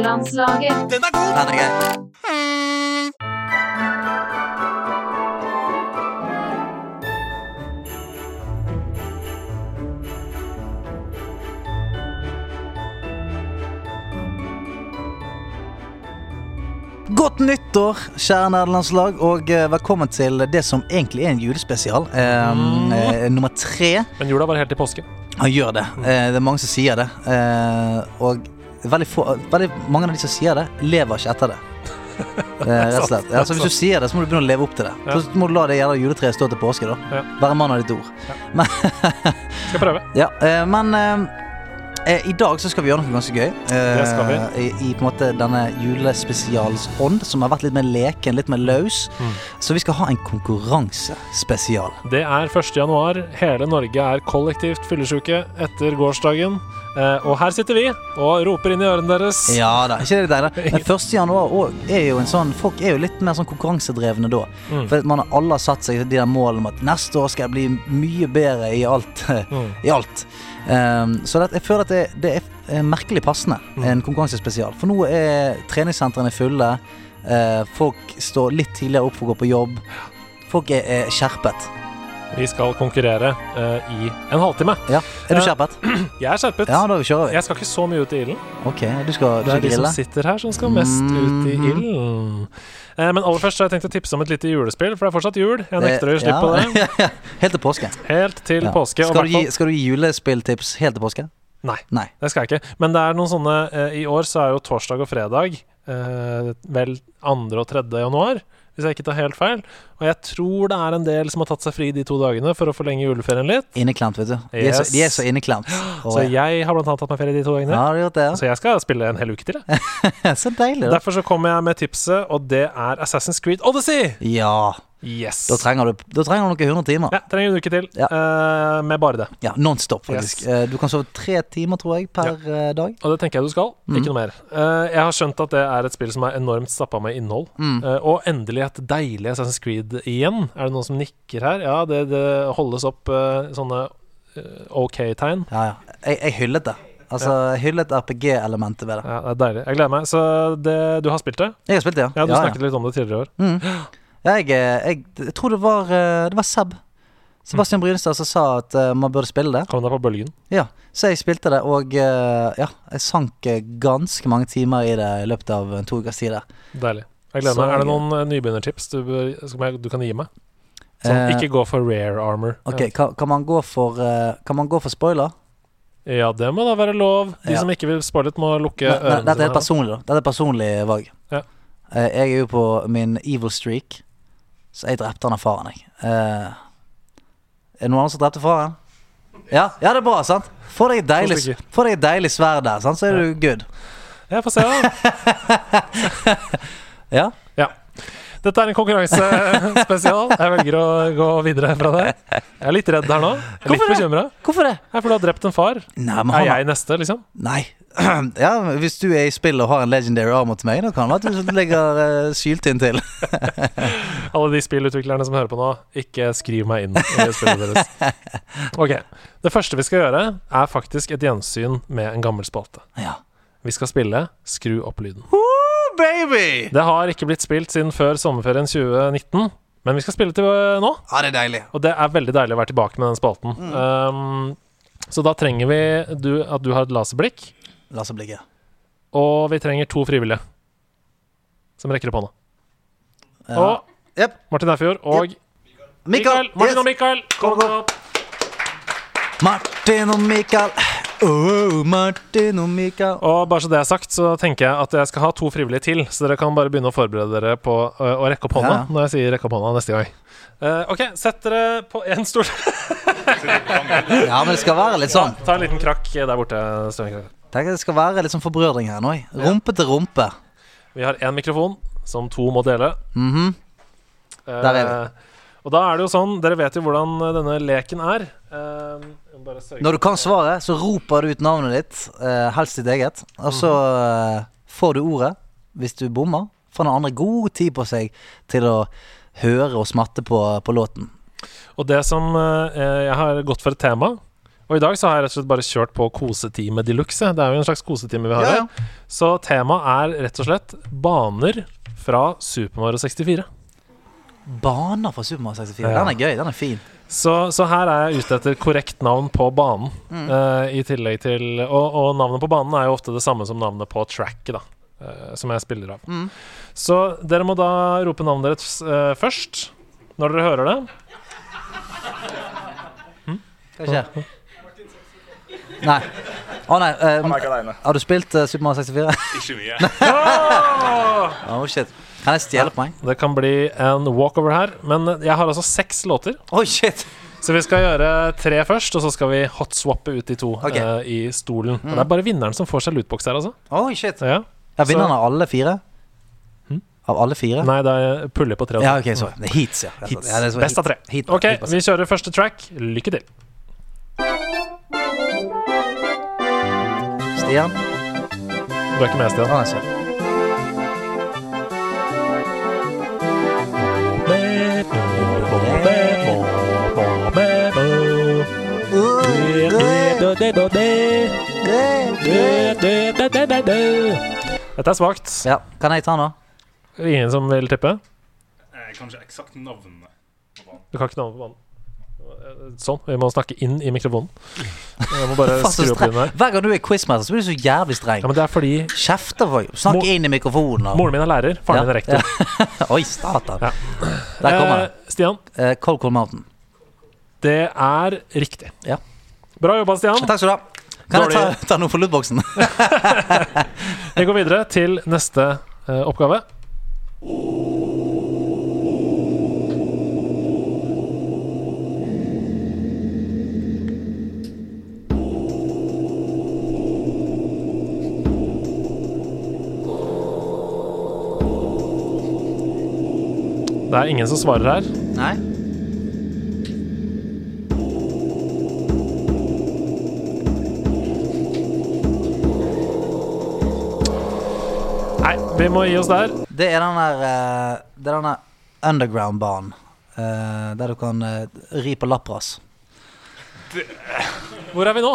Landslaget. Den er god! Den er gøy. Godt nyttår, kjære nederlandslag, og eh, velkommen til det som egentlig er en julespesial. Eh, eh, nummer tre. Men jula var helt til påske. Han gjør det. Mm. Eh, det er mange som sier det. Eh, og veldig, få, veldig mange av de som sier det, lever ikke etter det. Eh, rett og slett. Ja, så hvis du sier det, så må du begynne å leve opp til det. Ja. Så må du la det gjelde juletreet stå til påske. da Ja. Være mann av ditt ord. Skal prøve. Ja, eh, men eh, eh, i dag så skal vi gjøre noe ganske gøy. eh, Det skal vi. I, I på en måte denne julespesials ånd, som har vært litt mer leken, litt mer løs. Mm. Så vi skal ha en konkurransespesial. Det er 1. januar. Hele Norge er kollektivt fyllesyke etter gårsdagen. Eh, og her sitter vi og roper inn i ørene deres. Ja da, ikke det deilig? Men 1. januar også er jo en sånn Folk er jo litt mer sånn konkurransedrevne da. Mm. For at man har alle har satt seg de der målene om at neste år skal jeg bli mye bedre i alt. Mm. I alt. Ehm, så det, jeg føler at det, det er eh, merkelig passende, Mm. en konkurransespesial. For nå er treningssentrene fulle. eh, folk står litt tidligere opp for å gå på jobb. Folk er, er skjerpet. Vi skal konkurrere eh, i en halvtime. Ja. Er du Ja. skjerpet? Jeg er skjerpet. Ja, da kjører vi. Jeg skal ikke så mye ut i ilden. Ok, du skal, du Mm-hmm. skal Det er de som grille? sitter her, som skal mest ut i ilden. Eh, men aller først så har jeg tenkt å tipse om et lite julespill, for det er fortsatt jul. Jeg nekter å ja. gi slipp på det. Helt til påske. Helt til Ja. påske. Skal, og du hvertfall- gi, skal du gi julespilltips helt til påske? Nei. Nei. Det skal jeg ikke. Men det er noen sånne eh, I år så er jo torsdag og fredag eh, vel 2. og 3. januar, hvis jeg ikke tar helt feil. Og jeg tror det er en del som har tatt seg fri de to dagene for å forlenge juleferien litt. Inneklemt, vet du. De er så, Yes. de er så inneklemt. Å, Så ja. jeg har blant annet tatt meg ferie de to dagene. Ja, har du gjort det? Så jeg skal spille en hel uke til. Jeg. Ja. Så deilig. Da. Derfor så kommer jeg med tipset, og det er Assassin's Creed Odyssey! Ja, Yes! da trenger du, da trenger du noen hundre timer. ja, trenger en uke til Ja. eh, med bare det. Ja, Nonstop, faktisk. Yes. Eh, Du kan sove tre timer, tror jeg, per eh, dag. Og det tenker jeg du skal. Mhm. Ikke noe mer. Eh, jeg har skjønt at det er et spill som er enormt stappa med innhold. Mm. Eh, og endelig et deilig Assassin's Creed igjen. Er det noen som nikker her? Ja, det, det holdes opp eh, sånne eh, OK-tegn. Ja, ja. Jeg, jeg hyllet det. Altså, jeg hyllet RPG-elementet ved det. Ja, det er deilig. Jeg gleder meg. Så det, du har spilt det? Jeg har spilt det, ja. Ja, Du ja, snakket litt om det tidligere i år. Mm. Ja, jeg, eh, jeg, jeg tror det var, eh, det var Seb. Sebastian Mm. Brynestad som sa at eh, man burde spille det. Kom deg på bølgen. Ja, Så jeg spilte det, og eh, ja, jeg sank eh, ganske mange timer i det i løpet av en to ukers tid. der. Deilig. Jeg gleder Så meg. Er det gøy. noen eh, nybegynnertips du, bør- som jeg, du kan gi meg? Sånn, Eh, ikke gå for rare armor. Ok, kan, kan, man gå for, eh, kan man gå for spoiler? Ja, det må da være lov. De Ja. som ikke vil spoile litt, må lukke Nei, nei, ørene dette er sine. helt her. personlig, da. Dette er personlig valg. Ja. Eh, jeg er jo på min evil streak, så jeg drepte han av faren, jeg. Eh, er det noen andre som drepte faren? Ja, ja, det er bra, sant? Få deg et deilig, stykker. få deg et deilig sverd der, sant? så er du good. Jeg får se, da. Ja? Dette er en konkurransespesial. Jeg velger å gå videre fra det. Jeg er litt redd her nå. Jeg er litt Hvorfor det? bekymra. Hvorfor det? For du har drept en far. Nei, men Er han jeg neste, liksom? Nei. Ja, men hvis du er i spill og har en legendary armor til meg, da kan det være at du legger uh, syltynn til. Alle de spillutviklerne som hører på nå, ikke skriv meg inn i spillet deres. Ok. Det første vi skal gjøre, er faktisk et gjensyn med en gammel spalte. Ja. Vi skal spille Skru opp lyden. Woo, baby! Det har ikke blitt spilt siden før sommerferien 2019, men vi skal spille til øh, nå. Ja, det er deilig. Og det er veldig deilig å være tilbake med den spalten. Mm. Um, så da trenger vi du, at du har et laserblikk. La oss blikket. Og vi trenger to frivillige som rekker opp hånda. Ja. Og Jep. Martin Erfjord og Mikael. Martin og Mikael, kom Kom, kom. opp! Martin og Mikael. Oh, Martin og Mikael. Og bare så det er sagt, så tenker jeg at jeg skal ha to frivillige til. Så dere kan bare begynne å forberede dere på ø, å rekke opp hånda Ja. når jeg sier 'rekke opp hånda' neste gang. Eh, OK, sett dere på én stol. Ja, men det skal være litt sånn. Ta en liten krakk der borte. Støvkrakk. Tenk at det skal være litt sånn forbrødring her nå. jeg. Rumpe til rumpe. Vi har én mikrofon som to må dele. Mhm. Der er Eh, og da er det jo sånn, dere vet jo hvordan denne leken er. Eh, jeg må bare sørge- Når du kan svaret, så roper du ut navnet ditt, eh, helst ditt eget. Og så Mhm. eh, får du ordet, hvis du bommer. Får den andre god tid på seg til å høre og smatte på, på låten. Og det som eh, Jeg har gått for et tema, og Og i dag så har jeg rett og slett bare kjørt på kosetime de luxe. Det er jo en slags kosetime vi har Ja, her. ja. Så temaet er rett og slett baner fra Super Mario 64. Baner fra Super Mario 64. Ja. Den er gøy. Den er fin. Så, så her er jeg ute etter korrekt navn på banen. Mm. eh, I tillegg til og, og navnet på banen er jo ofte det samme som navnet på tracket, da. eh, som jeg spiller av. Mm. Så dere må da rope navnet deres eh, først. Når dere hører det. Hva skjer? Nei. Å nei. eh, Oh Han er ikke aleine. har du spilt eh, Super Mario 64? Ikke mye. oh shit. Kan jeg stjele et poeng? Det kan bli en walkover her. Men jeg har altså seks låter. Oi, shit. Så vi skal gjøre tre først, og så skal vi hotswappe ut de to Ok. Mm. eh, i stolen. Og det er bare vinneren som får seg lootbox her, altså. Oi, shit. Så, Hm? ja. Ja, vinneren av alle fire? Av alle fire? Nei, det er puller på tre. altså. Ja, ok, så det er Heats, ja. Hits. ja det er så- Best av tre. Heat, Ok, heat, vi kjører første track. Lykke til. Stian. Du er ikke med, Stian. Han er søt. Dette er svakt. Ja, kan jeg ta nå? Ingen som vil tippe? Eh, Kanskje eksakt navnet. Du kan ikke navnet på banen. Sånn. Vi må snakke inn i mikrofonen. Jeg må bare Faen, så skru opp streng. lyden her. Hver gang du er quizmaster, så blir du så jævlig streng. Ja, men det er fordi Kjefter for Snakk Mor- inn i mikrofonen. Og. moren min er lærer, faren min er rektor. Oi, satan. Ja. Der kommer det. Eh, Stian, Eh, Cold Cold Mountain. det er riktig. Ja. Bra jobba, Stian. Takk skal du ha. Kan jeg ta, Dårlig- ta noe for lootboxen? Vi går videre til neste eh, oppgave. Det er ingen som svarer her. Nei? Nei, vi må gi oss der. Det er den der eh, Det er den der underground-banen. eh, der du kan eh, ri på Lapras. Hvor er vi nå?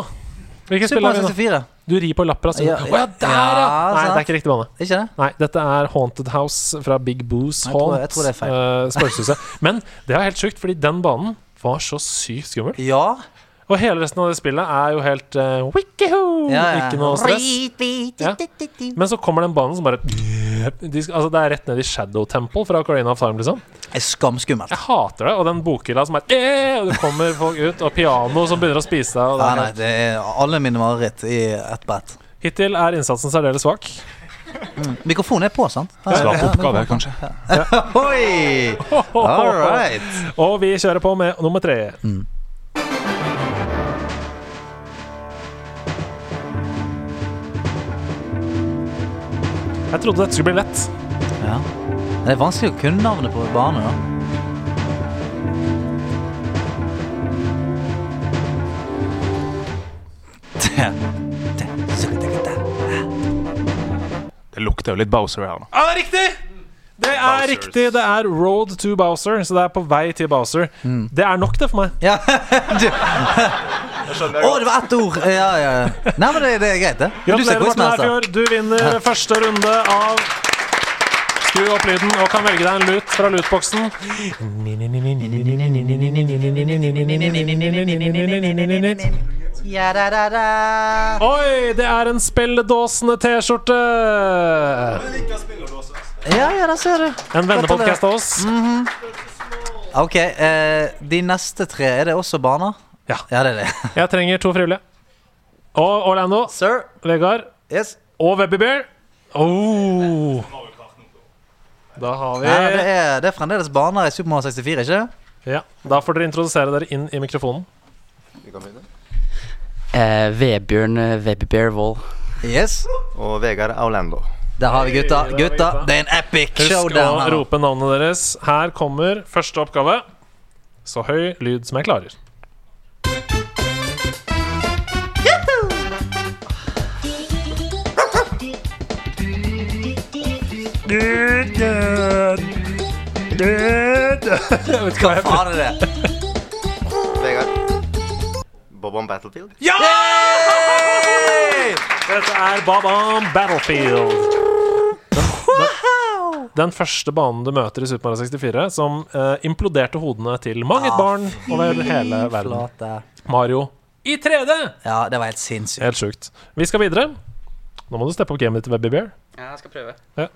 Hvilken Super spill er Mario vi nå? 64. Du rir på Lapras. Å Ja, ja, der, ja! ja, Nei, det sant. er ikke riktig bane. Ikke det? Nei, dette er Haunted House fra Big Boos Jeg tror- Haunt. jeg tror det er feil. eh, spøkelseshuset. Men det er helt sjukt, fordi den banen var så sykt skummel. Ja. Og hele resten av det spillet er jo helt eh, wikkihoo! ja, ja. Ikke noe stress. Ja. Men så kommer den banen som bare de, skal- Altså Det er rett ned i Shadow Temple fra Ocarina of Time. liksom Det er skamskummelt. Jeg hater det. Og den bokhylla som er eh, Og det kommer folk ut, og piano som begynner å spise deg. og det Nei, er nei, det er alle mine mareritt i ett brett. helt- Hittil er innsatsen særdeles svak. Mikrofonen er på, sant? Svart oppgave, kanskje. Oi! All right. Og vi kjører på med nummer tre. Jeg trodde dette skulle bli lett. Ja. Men Det er vanskelig å kunne navnet på banen, da. Det- det- sukker, sukker, det. Det lukter jo litt Bowser her nå. Ja, det er riktig! Det er Bowsers. riktig. Det er Road to Bowser, så det er på vei til Bowser. Det er nok, det, for meg. Ja, du Å, det var ett ord! Ja, ja, ja. Nei, men det, det er greit, det. Men Du ser Gratulerer, Morten quizmester. Herfjord. Du vinner første runde av Skru opp lyden og kan velge deg en lut fra lutboksen. Ja, da, da, da. Oi, det er en spilledåsende T-skjorte! ja, ja, der ser du. En vennepodkast av oss. Mm. Ok, eh, de neste tre, er det også baner? Ja. Ja, det er det. Jeg trenger to frivillige. Og Orlando, Sir? Vegard Yes? og Webbybear. Oh. Da har Nei, det, vi er, det er fremdeles baner i Super Mario 64, ikke? ja, Da får dere introdusere dere inn i mikrofonen. Eh, Vebjørn eh, Webbear Wall. Yes. Og Vegard Aulendo. Der har vi gutta. Hey, der har vi Gutta, gutta. det er en epic Husk showdown. å her. rope navnet deres. Her kommer første oppgave. Så høy lyd som jeg klarer. Hva faen er det? Vegard. Bob on Battlefield? Ja! Dette er Babam Battlefield. Den, den, den første banen du møter i Super Mario 64, som eh, imploderte hodene til mange et barn over hele verden. Ah, Flate. Mario i 3D! Ja, det var helt sinnssykt. Helt sjukt. Vi skal videre. Nå må du steppe opp gamet ditt, Webby Bear. Ja, jeg skal prøve. Ja.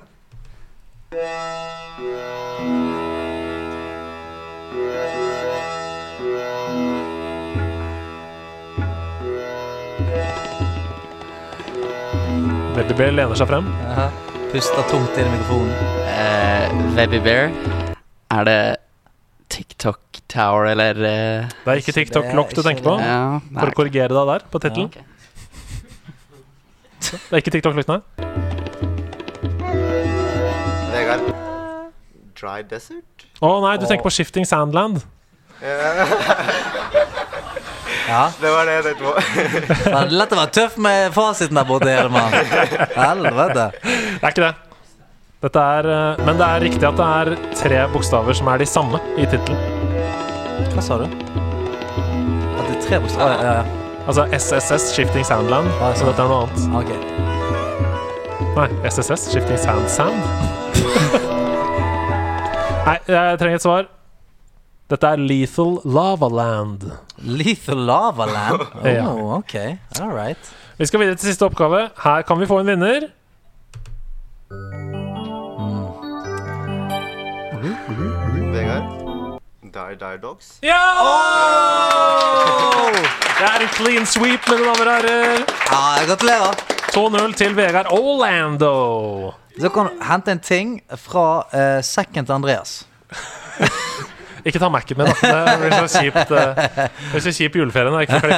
Webby Bear lener seg frem. Jaha. Puster tungt inn i mikrofonen. Uh, Bear. Er det TikTok Tower, eller eh, Det er ikke Ikke det, TikTok-lokk du ikke tenker på? det. Ja, nei. For å korrigere deg der, på tittelen. Ok. Det er ikke TikTok-lokk, nei. Vegard? Dry Desert? Å nei, du tenker på Shifting Sandland. Ja. Det var det jeg tenkte på. Det er lett å være tøff med fasiten der borte, Edemann. Helvete. Det er ikke det. Dette er, eh, men det er riktig at det er tre bokstaver som er de samme i tittelen. Hva sa du? At det er tre bokstaver? Ja, ja, ja. Altså SSS, Shifting Sandland. Ah, Så sånn. dette er noe annet. Ok. Nei, SSS, Shifting Sand Sand. Nei, jeg trenger et svar. Dette er Lethal Lava Land. Lethal Lava Land. Ja. Oh, ok. All right. Vi skal videre til siste oppgave. Her kan vi få en vinner. Vegard? Die Die Dogs? Ja! Det er en clean sweep, mine damer og herrer. Ja, gratulerer. 2-0 til Vegard Orlando. Så kan du hente en ting fra eh, sekken til Andreas. Ikke ta Mac-en min, da. Det blir så kjipt eh, Det blir så kjip juleferie når jeg ikke får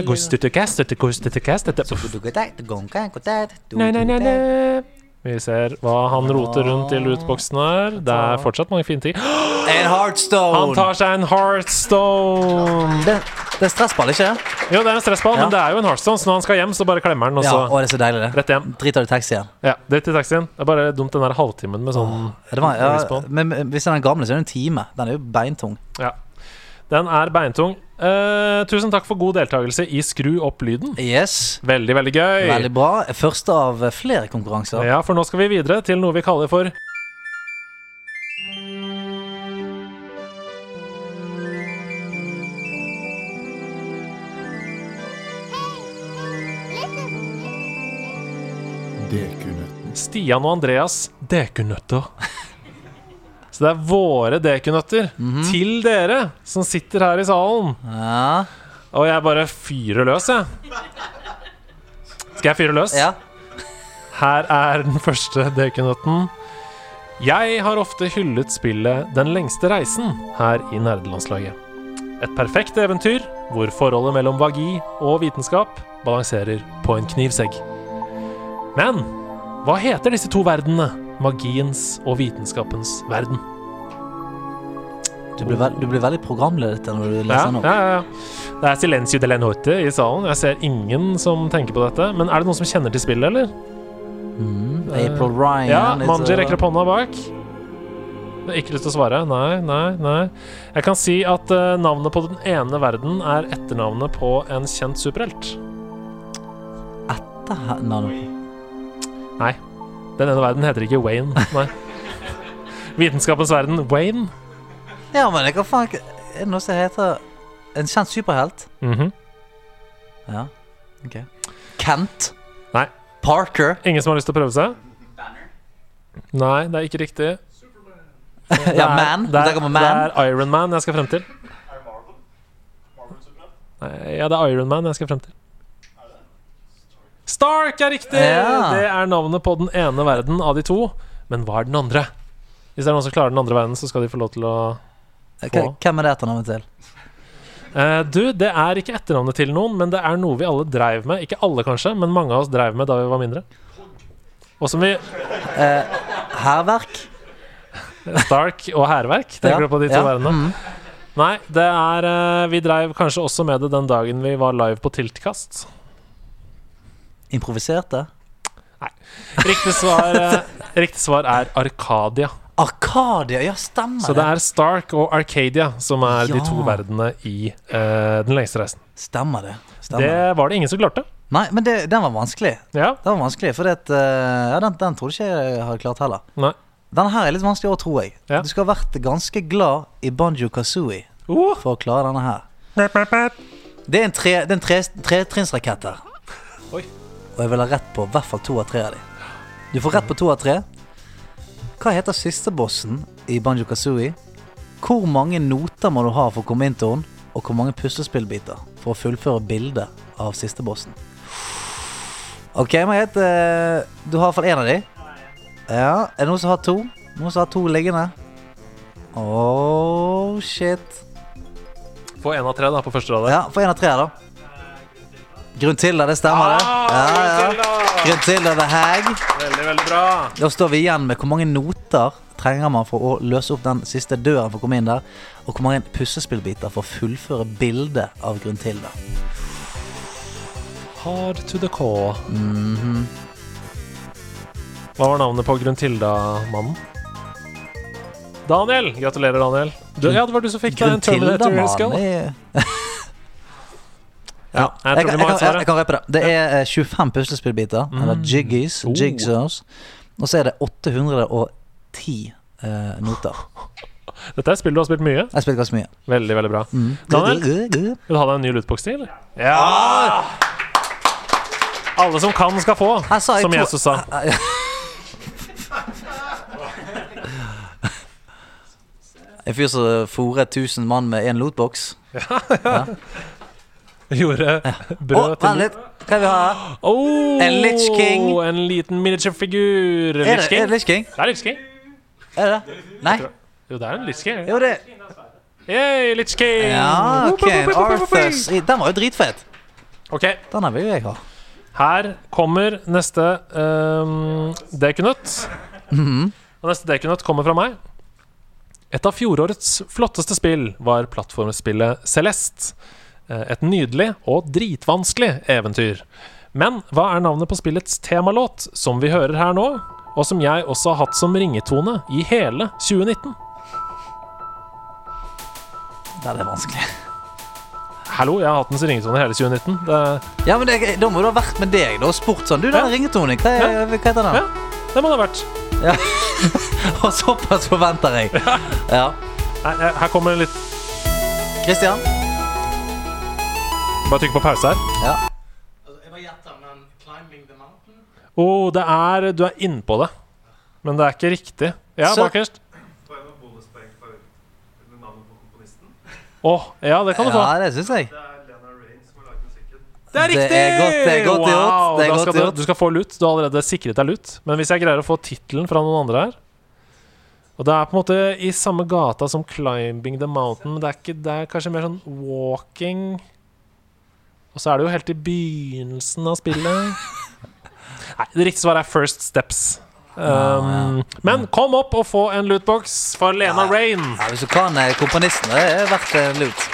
klippa. Gustete-kast, dette gustete-kast, dette Vi ser hva han roter rundt i lootboksen her. Det er fortsatt mange fine ting. En Han Heartstone. tar seg en Heartstone. Det, det er stressball, ikke det? Jo, det er en stressball, Ja. men det er jo en Heartstone, så når han skal hjem, så bare klemmer han, og Ja, så å, det er så deilig, det. rett hjem. Driter du i taxi igjen? Ja, Dritt i taxien. Det er bare dumt den der halvtimen med sånn Ja, Det var, ja, respawn. men men hvis den er gammel, så er det en time. Den er jo beintung. Ja. Den er beintung. Eh, tusen takk for god deltakelse i Skru opp lyden. Yes. Veldig, veldig gøy. Veldig bra. Første av eh, flere konkurranser. Ja, for nå skal vi videre til noe vi kaller for Stian og Andreas dekunøtter. Så det er våre dekunøtter til dere som sitter her i salen. Ja. Og jeg bare fyrer løs, jeg. Skal jeg fyre løs? ja. Her er den første dekunøtten. Jeg har ofte hyllet spillet Den lengste reisen her i nerdelandslaget. Et perfekt eventyr hvor forholdet mellom vagi og vitenskap balanserer på en knivsegg. Men hva heter disse to verdenene? Magiens og vitenskapens verden. Du blir, vel- du blir veldig programleder når du Ja, leser den opp. ja, ja. Det er silencio de la note i salen. Jeg ser ingen som tenker på dette. Men er det noen som kjenner til spillet, eller? Mm, April Ryan. Ja, it's, Manji uh, rekker opp hånda bak. Jeg har ikke lyst til å svare. Nei, nei, nei. Jeg kan si at eh, navnet på den ene verden er etternavnet på en kjent superhelt. da- Nei, nei. Den ene verden heter ikke Wayne, nei. Vitenskapens verden Wayne. Ja, men hva faen Er det noe som heter En kjent superhelt? Mhm. Ja. Ok. Kent? Nei. Parker? Ingen som har lyst til å prøve seg? Nei, det er ikke riktig. Det Ja, er- Man? Det Der er, kommer det Man. er Iron Man jeg skal frem til. Nei, ja, det er Iron Man jeg skal frem til. Stark er riktig! Ja. Det er navnet på den ene verden av de to. Men hva er den andre? Hvis det er noen som klarer den andre verden, så skal de få lov til å Hva- Hvem er det etternavnet til? Eh, Du, det er ikke etternavnet til noen, men det er noe vi alle dreiv med. Ikke alle, kanskje, men mange av oss dreiv med da vi var mindre. Og som vi Hærverk? Stark og hærverk. Tenker Ja, du på de to ja, verdenene? Nei, det er eh, Vi dreiv kanskje også med det den dagen vi var live på Tiltkast. Improviserte? Riktig svar, eh, riktig svar er Arkadia. Arcadia, ja, stemmer Så det er Stark og Arcadia som er de Ja. to verdenene i eh, Den lengste reisen. Stemmer det. Stemmer. det. Det var det ingen som klarte. Nei, men det, den var vanskelig. Ja, Den var vanskelig, for det, ja, den, den trodde ikke jeg hadde klart heller. nei Denne her er litt vanskelig å tro, jeg. Ja. Du skal ha vært ganske glad i Banjo Kazooie oh. for å klare denne her. Det er en tre- det er en tre- tretrinnsrakett tre, her. Oi. Og jeg vil ha rett på i hvert fall to av tre av de. Du får rett på to av tre. Hva heter siste bossen i Banjo Kazooie? Hvor mange noter må du ha for å komme inn til henne? Og hvor mange puslespillbiter for å fullføre bildet av siste bossen? Ok, men jeg heter Du har i hvert fall én av de. Ja, Er det noen som har to? Noen som har to liggende? Oh, shit. Få én av tre da på første rad. der. Ja, for en av tre her da Grunn til det, det stemmer det Ah! Ah, ja, ja. Grunn til det, The Hag Veldig, veldig bra. Da står vi igjen med hvor mange noter Trenger man for å løse opp den siste døren For å komme inn der Og hvor mange pussespillbiter for å fullføre bildet Av grunn til det Hard to the core. Mhm. Hva var navnet på Gruntilda-mannen? Daniel! Gratulerer, Daniel. Du, ja, det var du som fikk deg en Terminator skull. jeg, jeg, Ja, jeg tror kan- vi jeg, kan- må ha et jeg, svar. jeg kan røpe det Det er eh, 25 puslespillbiter Eller jiggies, Mm. Oh. jigsaws Og så er det 810 eh, noter jeg. Dette er spill du har spilt mye. Jeg spilte ganske mye Veldig, veldig bra. mm. Daniel? Vil du ha deg en ny lootbox til, eller? Ja! Alle som kan, skal få, Jeg sa jeg som to- Jesus sa. En fyr som fôrer 1000 mann med én lootbox. Gjorde Å, brød vent til litt! Hva er vi har her? oh, En Lich King. En liten miniature-figur. Er Lich det, er King. det Lich King? Det er Lich King. Er det det? Nei? Jo, det er en Lich King. Jo, det Yay, Lich King! Ja, ok. en Arthurs i- Den var jo dritfet. Ok, Den her vil jo jeg ha. her kommer neste um, dekunøtt. Mhm. Og neste dekunøtt kommer fra meg. Et av fjorårets flotteste spill var plattformspillet Celeste. Eh, Et nydelig og dritvanskelig eventyr. Men hva er navnet på spillets temalåt, som vi hører her nå, og som jeg også har hatt som ringetone i hele 2019? Den er vanskelig. Hallo, jeg har hatt den som ringetone i hele 2019. Det, Ja, men det, Da må du ha vært med deg da og spurt sånn. Du, den Ja. ringetonen, hva, er- hva heter den? ja, det må det ha vært. Og såpass forventer jeg. Ja. Her, her- her kommer en litt Christian? Bare trykk på pause her. Ja. Å, det er Du er innpå det. Men det er ikke riktig. Ja, Så- bakerst. Å, ja, det kan du få. ja, det syns jeg. Det er det er godt- det er godt gjort, Wow, det er da godt skal du, gjort. du skal få lut. Du har allerede sikret deg lut. Men hvis jeg greier å få tittelen fra noen andre her Og det er på en måte i samme gata som 'Climbing the Mountain', men det er, ikke, det er kanskje mer sånn walking Og så er det jo helt i begynnelsen av spillet. Nei, det riktige svaret er 'First Steps'. Um, Men kom opp og få en lootbox for Lena Rain. Ja, Hvis du kan eh, komponisten, det er verdt en lut.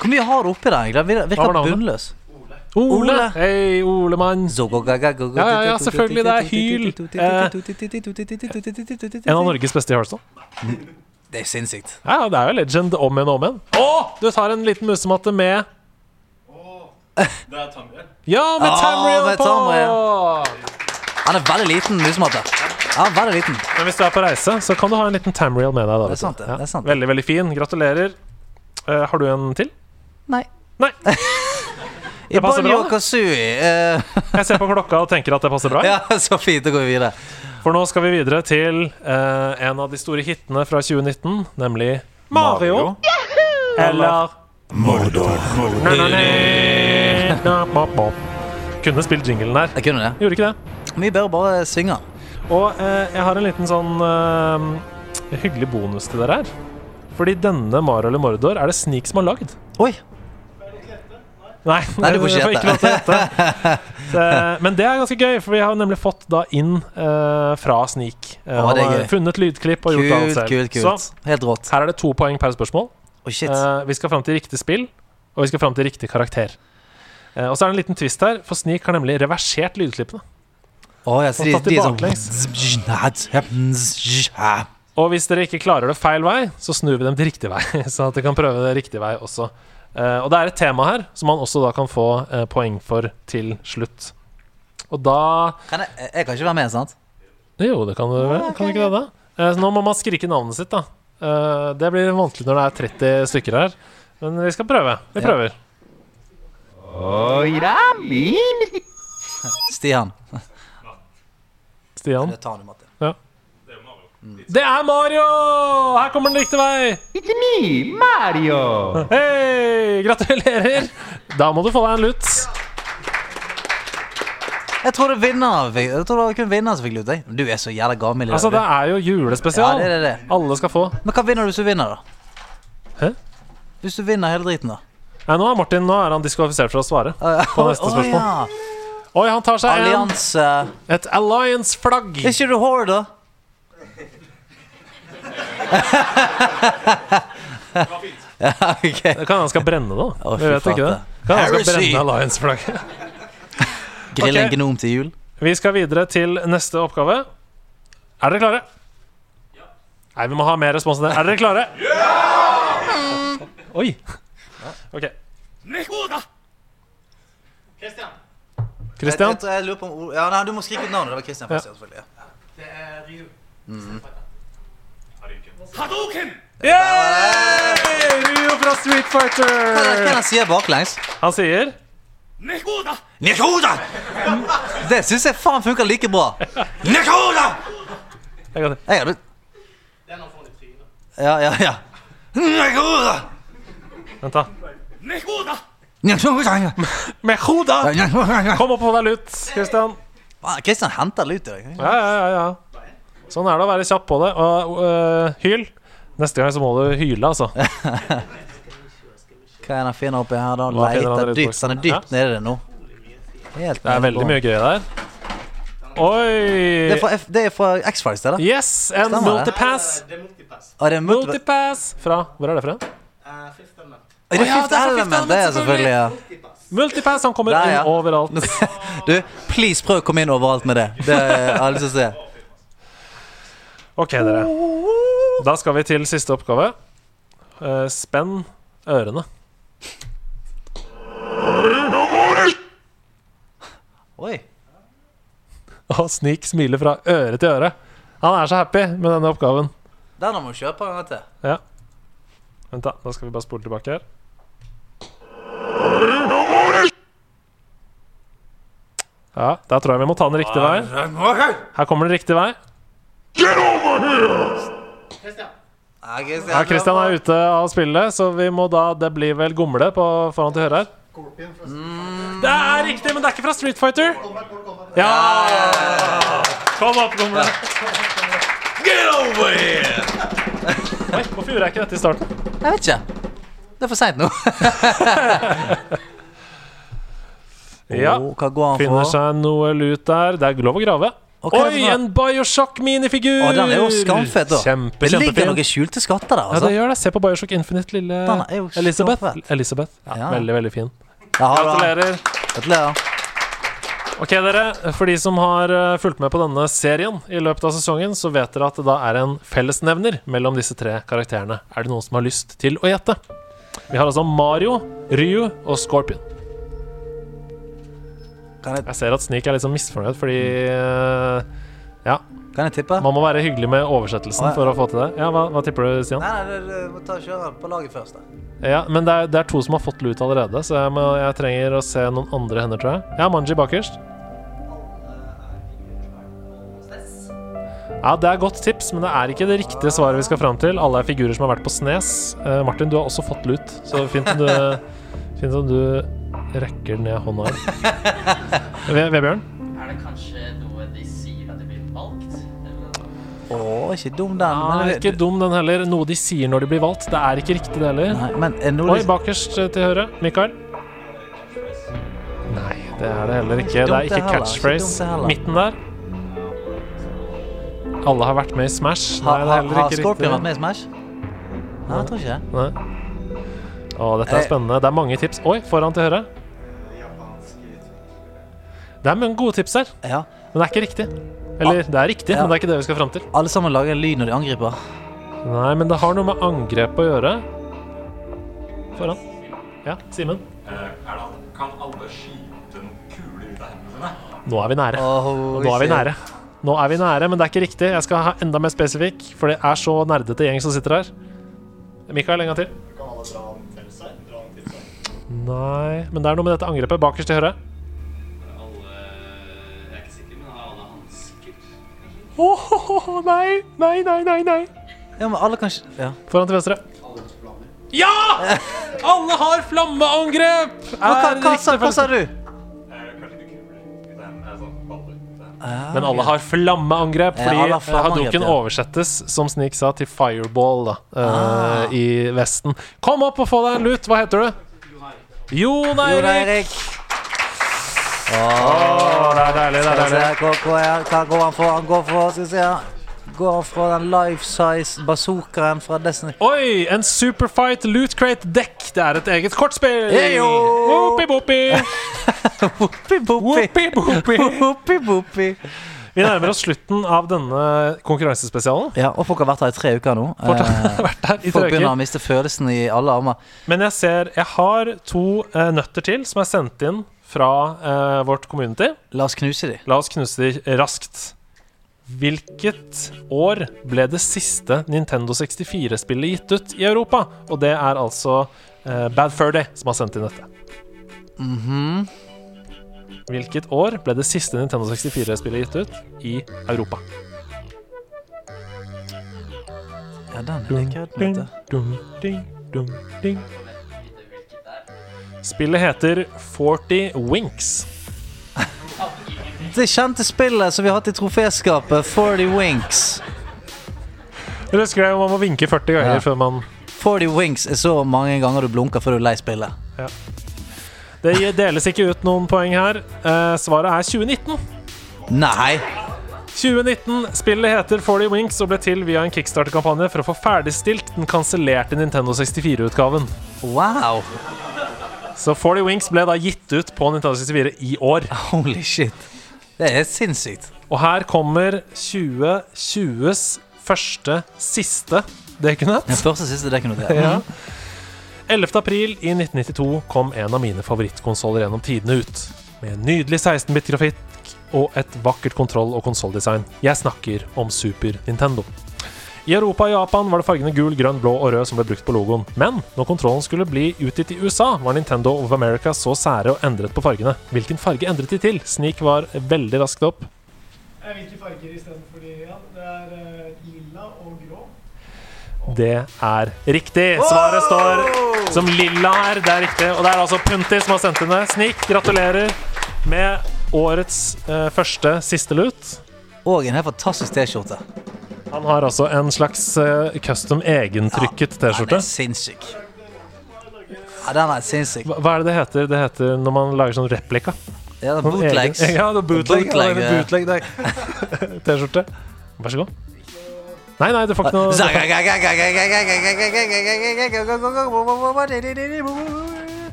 Hvor mye har du oppi der? egentlig? Den vir- Hva var virker navnet? bunnløs. Ole! Ole. Hei, Olemann. Zogogaga- Ja, ja, ja, selvfølgelig, det er hyl. En av Norges beste i Hearthstone. Det er sinnssykt. Ja, ja, det er jo legend om igjen og om igjen. Å! Du tar en liten musematte med Det er Tamriel. Ja, med Ah, Tamriel med på! Han er veldig liten, musematte. Ja, veldig liten. Men hvis du er på reise, så kan du ha en liten Tamriel med deg. Da, vet du. sant det, Ja. det er sant det. Veldig, veldig fin. Gratulerer. Eh, har du en til? Nei. Nei. I passer bra, Banjo det. Kazooie eh, Jeg ser på klokka og tenker at det passer bra. Ja, så fint. Da går vi videre. For nå skal vi videre til eh, en av de store hitene fra 2019, nemlig Mario. Eller Mordor. Nei, nei, nei. Na, pop, pop. Kunne spilt jinglen der. Jeg kunne det. Gjorde ikke det. Vi bør bare synge den. Og eh, jeg har en liten sånn eh, hyggelig bonus til dere her. Fordi denne Mario eller Mordor er det Sneak som har lagd. Oi. Nei, Nei, du får ikke jeg gjette. lov til å gjette. Så, eh, Men det er ganske gøy, for vi har nemlig fått da inn eh, fra Sneak. Eh, Å, han det er har gøy. funnet lydklipp og gjort Kult, alt selv. kult, kult. Helt rått. Så her er det to poeng per spørsmål. Oi, shit. Eh, vi skal fram til riktig spill, og vi skal fram til riktig karakter. Eh, og så er det en liten twist her, for Sneak har nemlig reversert lydklippene. Å ja, så de, tatt de de er sånn baklengs. Å Og hvis dere ikke klarer det feil vei, så snur vi dem til riktig vei. Sånn at dere kan prøve det riktig vei også. Eh, og det er et tema her som man også da kan få eh, poeng for til slutt. Og da Kan jeg, jeg kan ikke være med, sant? Jo, det kan du vel. Kan du ikke det, da? Eh, så nå må man skrike navnet sitt, da. Eh, det blir vanskelig når det er 30 stykker her. Men vi skal prøve. Vi Ja. prøver. Stian. Stian. Det tar du, Martin. Det er Mario! Her kommer den riktige vei. Mario. Hei! Gratulerer. Da må du få deg en lut. Jeg tror det var vinneren fikk- jeg tror det var kun vinneren som fikk lute. Du er så jævla gammel. i dag, Altså, du. det er jo ja, julespesial. det, er det, det. Alle skal få. Men hva vinner du hvis du vinner, da? Hæ? Hvis du vinner hele driten, da? Nei, nå er Martin nå er han diskvalifisert for å svare. På Å, neste spørsmål. Um, ja. Oi, han tar seg en, Allianse et Alliance-flagg. Er ikke du hore, da? ja, ok. Det kan han skal brenne, da. Å, Vi fy vet ikke det. flate. Kan han skal Heresy. brenne Alliance-flagget. Grille en Ok. gnom til jul. Vi skal videre til neste oppgave. Er dere klare? Nei, vi må ha mer respons enn det. Er dere klare? Oi. Ok. Christian. Christian. Jeg, jeg, jeg lurer på om, Ol- ja, nei, du må skrike ut navnet. Det var Christian først. Ja. Ja. selvfølgelig, ja. Det er Ryu. Yeah! Rio fra Street Hva er det Fighter. han sier baklengs? Han sier Nekoda! Det syns jeg faen funker like bra. Nekoda! Jeg kan- Jeg hadde Den har fått i trynet. Ja, ja, ja. Nekoda! Vent, da. Nekoda! Med hodet! Nekoda! Kom opp og få deg lut, Christian. Faen, Ah, Christian henter lut i dag. Ja, ja, ja, ja. Sånn er det å være kjapp på det. Og øh, hyl. Neste gang så må du hyle, altså. Hva er det han finner oppi her, da? Hva finner han Leter der ute dypt. bak? Han er dypt nede i det nå. Helt Det er veldig mye gøy der. Det er Oi! fra, F- det er fra X-Files, det, da? Yes, and Stemmer det. multipass. Det er multipass. Å, det er multi... Multipass fra Hvor er det fra? Uh, Fifth element. Er det Fifth Element? Det er selvfølgelig, ja. Multipass. Multipass, han kommer Der, ja. inn overalt. Du, please prøv å komme inn overalt med det. Det er alle som ser. Ok, dere. Da skal vi til siste oppgave. Eh, spenn ørene. Oi. Og snik smiler fra øre til øre. Han er så happy med denne oppgaven. Den må du kjøpe en gang til. Ja. Vent, da. Da skal vi bare spole tilbake her. Ja, der tror jeg vi må ta den riktige vei. Her kommer den riktige vei. Christian. Ja, Ja, Christian er ute av spillet, så vi må da Det blir vel Gomle på foran til høyre her. Det er riktig, men det er ikke fra Street Fighter. Ja! Kom opp, Gomle. Get over here! Oi, hvorfor gjorde jeg ikke dette i starten? Jeg vet ikke. Det er for seint nå. Ja. Åh, hva går han Finner for? seg noe lut der. Det er lov å grave. Og hva er det Oi, for noe? en Bioshock-minifigur! Å, den er jo skamfett, da. Kjempe, det ligger kjempefin. noen skjulte skatter der, Ja, det altså. gjør det. Se på Bioshock Infinite, lille Den er jo Elisabeth. kjempefett. Elisabeth. Ja, Ja. Veldig, veldig fin. Ja, da. Gratulerer. Gratulerer. Ok, dere. For de som har eh, fulgt med på denne serien i løpet av sesongen, så vet dere at det da er en fellesnevner mellom disse tre karakterene. Er det noen som har lyst til å gjette? Vi har altså Mario, Ryu og Scorpion. Kan jeg, Jeg ser at Sneak er litt sånn misfornøyd fordi eh, Ja, kan jeg tippe? Nei, man må være hyggelig med oversettelsen for å få til det. Ja, Hva, hva tipper du, Stian? nei, du, du må ta og kjøre på laget først, da. Ja, Men det er, det er to som har fått lut allerede, så jeg, må, jeg trenger å se noen andre hender, tror jeg. Ja, Manji bakerst. Ja, Det er godt tips, men det er ikke det riktige svaret vi skal fram til. Alle er figurer som har vært på Snes. Eh, Martin, du har også fått lut, så fint om du, fint om du rekker ned hånda her. Ve- Vebjørn? Er det kanskje noe de sier at de blir valgt? Eller- Å, ikke dum den. Ja, men- det er ikke dum, den heller. Noe de sier når de blir valgt. Det er ikke riktig, det heller. Nei, men er det noe liksom- Oi, bakerst eh, til høyre. Mikael? Nei, det er det heller ikke. Ikke dumt det Det er ikke heller, ikke dumt det catchphrase. heller. Midten der. Alle har vært med i Smash. Nei, Har, det er har, heller har ikke Scorpion vært riktig. med i Smash? Nei, jeg tror ikke det. Nei. Å, dette er Eh. spennende. Det er mange tips. Oi, foran til høyre. Det er mange gode tips her. Ja. Men det er ikke riktig. Eller det er riktig, Ah. Ja. men det er ikke det vi skal fram til. Alle sammen lager en lyd når de angriper. Nei, men det har noe med angrep å gjøre. Foran. Ja, Simen. Eh, Kan alle skyte noen kuler ut av hendene sine? Nå er vi nære. Oh, Nå er vi nære. Nå er vi nære, men det er ikke riktig. Jeg skal ha enda mer spesifikk, for det er så nerdete gjeng som sitter her. Mikael, en gang til. Kan alle dra den til seg? Dra den til seg. Nei Men det er noe med dette angrepet. Bakerst til høyre. Alle Jeg er ikke sikker, men har alle hansker? Åh, nei, nei, nei, nei, nei. Ja, men alle kan ikke ja. Foran til venstre. Ja! Alle har flammeangrep! hva, hva, Er hva, sa- riktig hva sa du? Eh, Kanskje ikke kuler ut av hendene, eh, sånn baller ut av hendene. Ah, Men alle har flammeangrep, Ja, fordi alle har ja, flammeangrep, Hadoken ja. oversettes, som Snik sa, til fireball da, eh, Ah. i Vesten. Kom opp og få deg en lut. Hva heter du? Jon Jo da, Erik. Eirik. Åh, Å, det er deilig. det skal er vi se, deilig hva, hva, er, hva går han for? Han går for, skal vi se han Går fra den life size bazookaen fra Destiny. Oi! En Superfight Loot Crate Deck. Det er et eget kortspill. Heyo! Whoopi-boopi. Whoopi-boopi. Whoopi-boopi. Whoopi-boopi. Vi nærmer oss slutten av denne konkurransespesialen. Ja, og folk har vært her i tre uker nå. Eh, Vært her i folk tre uker. begynner å miste følelsen i alle armer. Men jeg ser Jeg har to eh, nøtter til som er sendt inn fra eh, vårt community. La oss knuse dem. La oss knuse de raskt. Hvilket år ble det siste Nintendo 64-spillet gitt ut i Europa? Og det er altså eh, Bad Furday som har sendt inn dette. Mhm. Hvilket år ble det siste Nintendo 64-spillet gitt ut i Europa? Ja, den liker jeg. den, vet du. Dum, ding, dum, ding. Spillet heter 40 Winks. Det kjente spillet som vi har hatt i troféskapet, 40 Winks. Dere husker det, man må vinke 40 ganger Ja. før man 40 Winks er så mange ganger du blunker før du er lei spillet. Det deles ikke ut noen poeng her. Eh, svaret er 2019. Nei! 2019. Spillet heter 40 Winks og ble til via en kickstarter-kampanje for å få ferdigstilt den kansellerte Nintendo 64-utgaven. Wow! Så 40 Winks ble da gitt ut på Nintendo 64 i år. Holy shit. Det er sinnssykt. Og her kommer 2020s første siste Den Dekunett. første og siste det kunne det. Ja. 11. april i 1992 kom en av mine favorittkonsoller gjennom tidene ut. Med en nydelig 16-bit-grafikk og et vakkert kontroll- og konsolldesign. Jeg snakker om Super Nintendo. I Europa og Japan var det fargene gul, grønn, blå og rød som ble brukt på logoen. Men når kontrollen skulle bli utgitt i USA, var Nintendo of America så sære og endret på fargene. Hvilken farge endret de til? Snik var veldig raskt opp. Hvilke farger istedenfor de ja, Det er lilla og grå. Det er riktig. Svaret står som lilla her. Det er riktig. Og det er altså Punti som har sendt inn det. Snik, gratulerer med årets eh, første siste lut. Og en helt fantastisk T-skjorte. Han har altså en slags eh, custom egentrykket Den T-skjorte. er sinnssyk. Ja, den er sinnssyk. Hva hva er det det heter? Det heter når man lager sånn replika. Ja, Sånn bootlegs. egen- Ja, det er bootleg. Bootleg, eh. ja, det er bootleg det er- T-skjorte. Vær så god. Nei, nei, du får ikke noe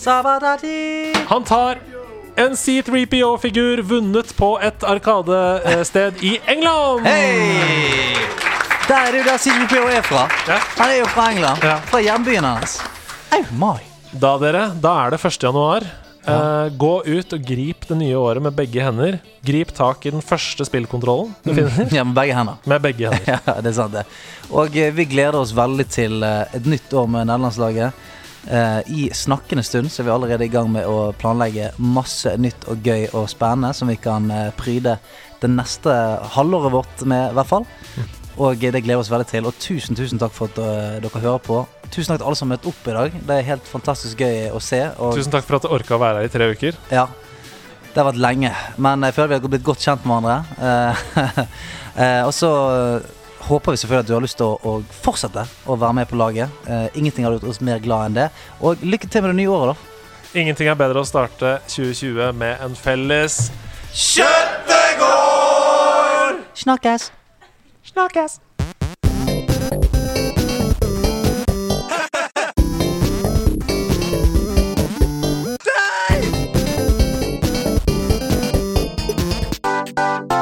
Sabadati. Han tar en C3PO-figur vunnet på et arkadested i England. Hei! Der er det jo der Sigrid P.O. er fra. Ja. Han er jo fra England. Ja. Fra hjembyen hans. Au, mai. Da, dere, da er det 1. januar. Eh, gå ut og grip det nye året med begge hender. Grip tak i den første spillkontrollen du finner. Ja, med begge hender. Med begge hender. Ja, det er sant, det. Og eh, vi gleder oss veldig til eh, et nytt år med nederlandslaget. Eh, I snakkende stund så er vi allerede i gang med å planlegge masse nytt og gøy og spennende som vi kan eh, pryde det neste halvåret vårt med, i hvert fall. Og eh, det gleder vi oss veldig til. Og tusen, tusen takk for at eh, dere hører på. Tusen takk til alle som har møtt opp i dag. Det er helt fantastisk gøy å se. Og Tusen takk for at du orka å være her i tre uker. ja. Det har vært lenge, men jeg føler vi har blitt godt kjent med hverandre. Eh, eh, og så eh, håper vi selvfølgelig at du har lyst til å, å fortsette å være med på laget. Eh, ingenting har gjort oss mer glad enn det. Og lykke til med det nye året, da. Ingenting er bedre å starte 2020 med en felles Snakkes!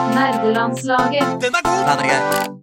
Nederlandslaget. Den er god! Den er gøy.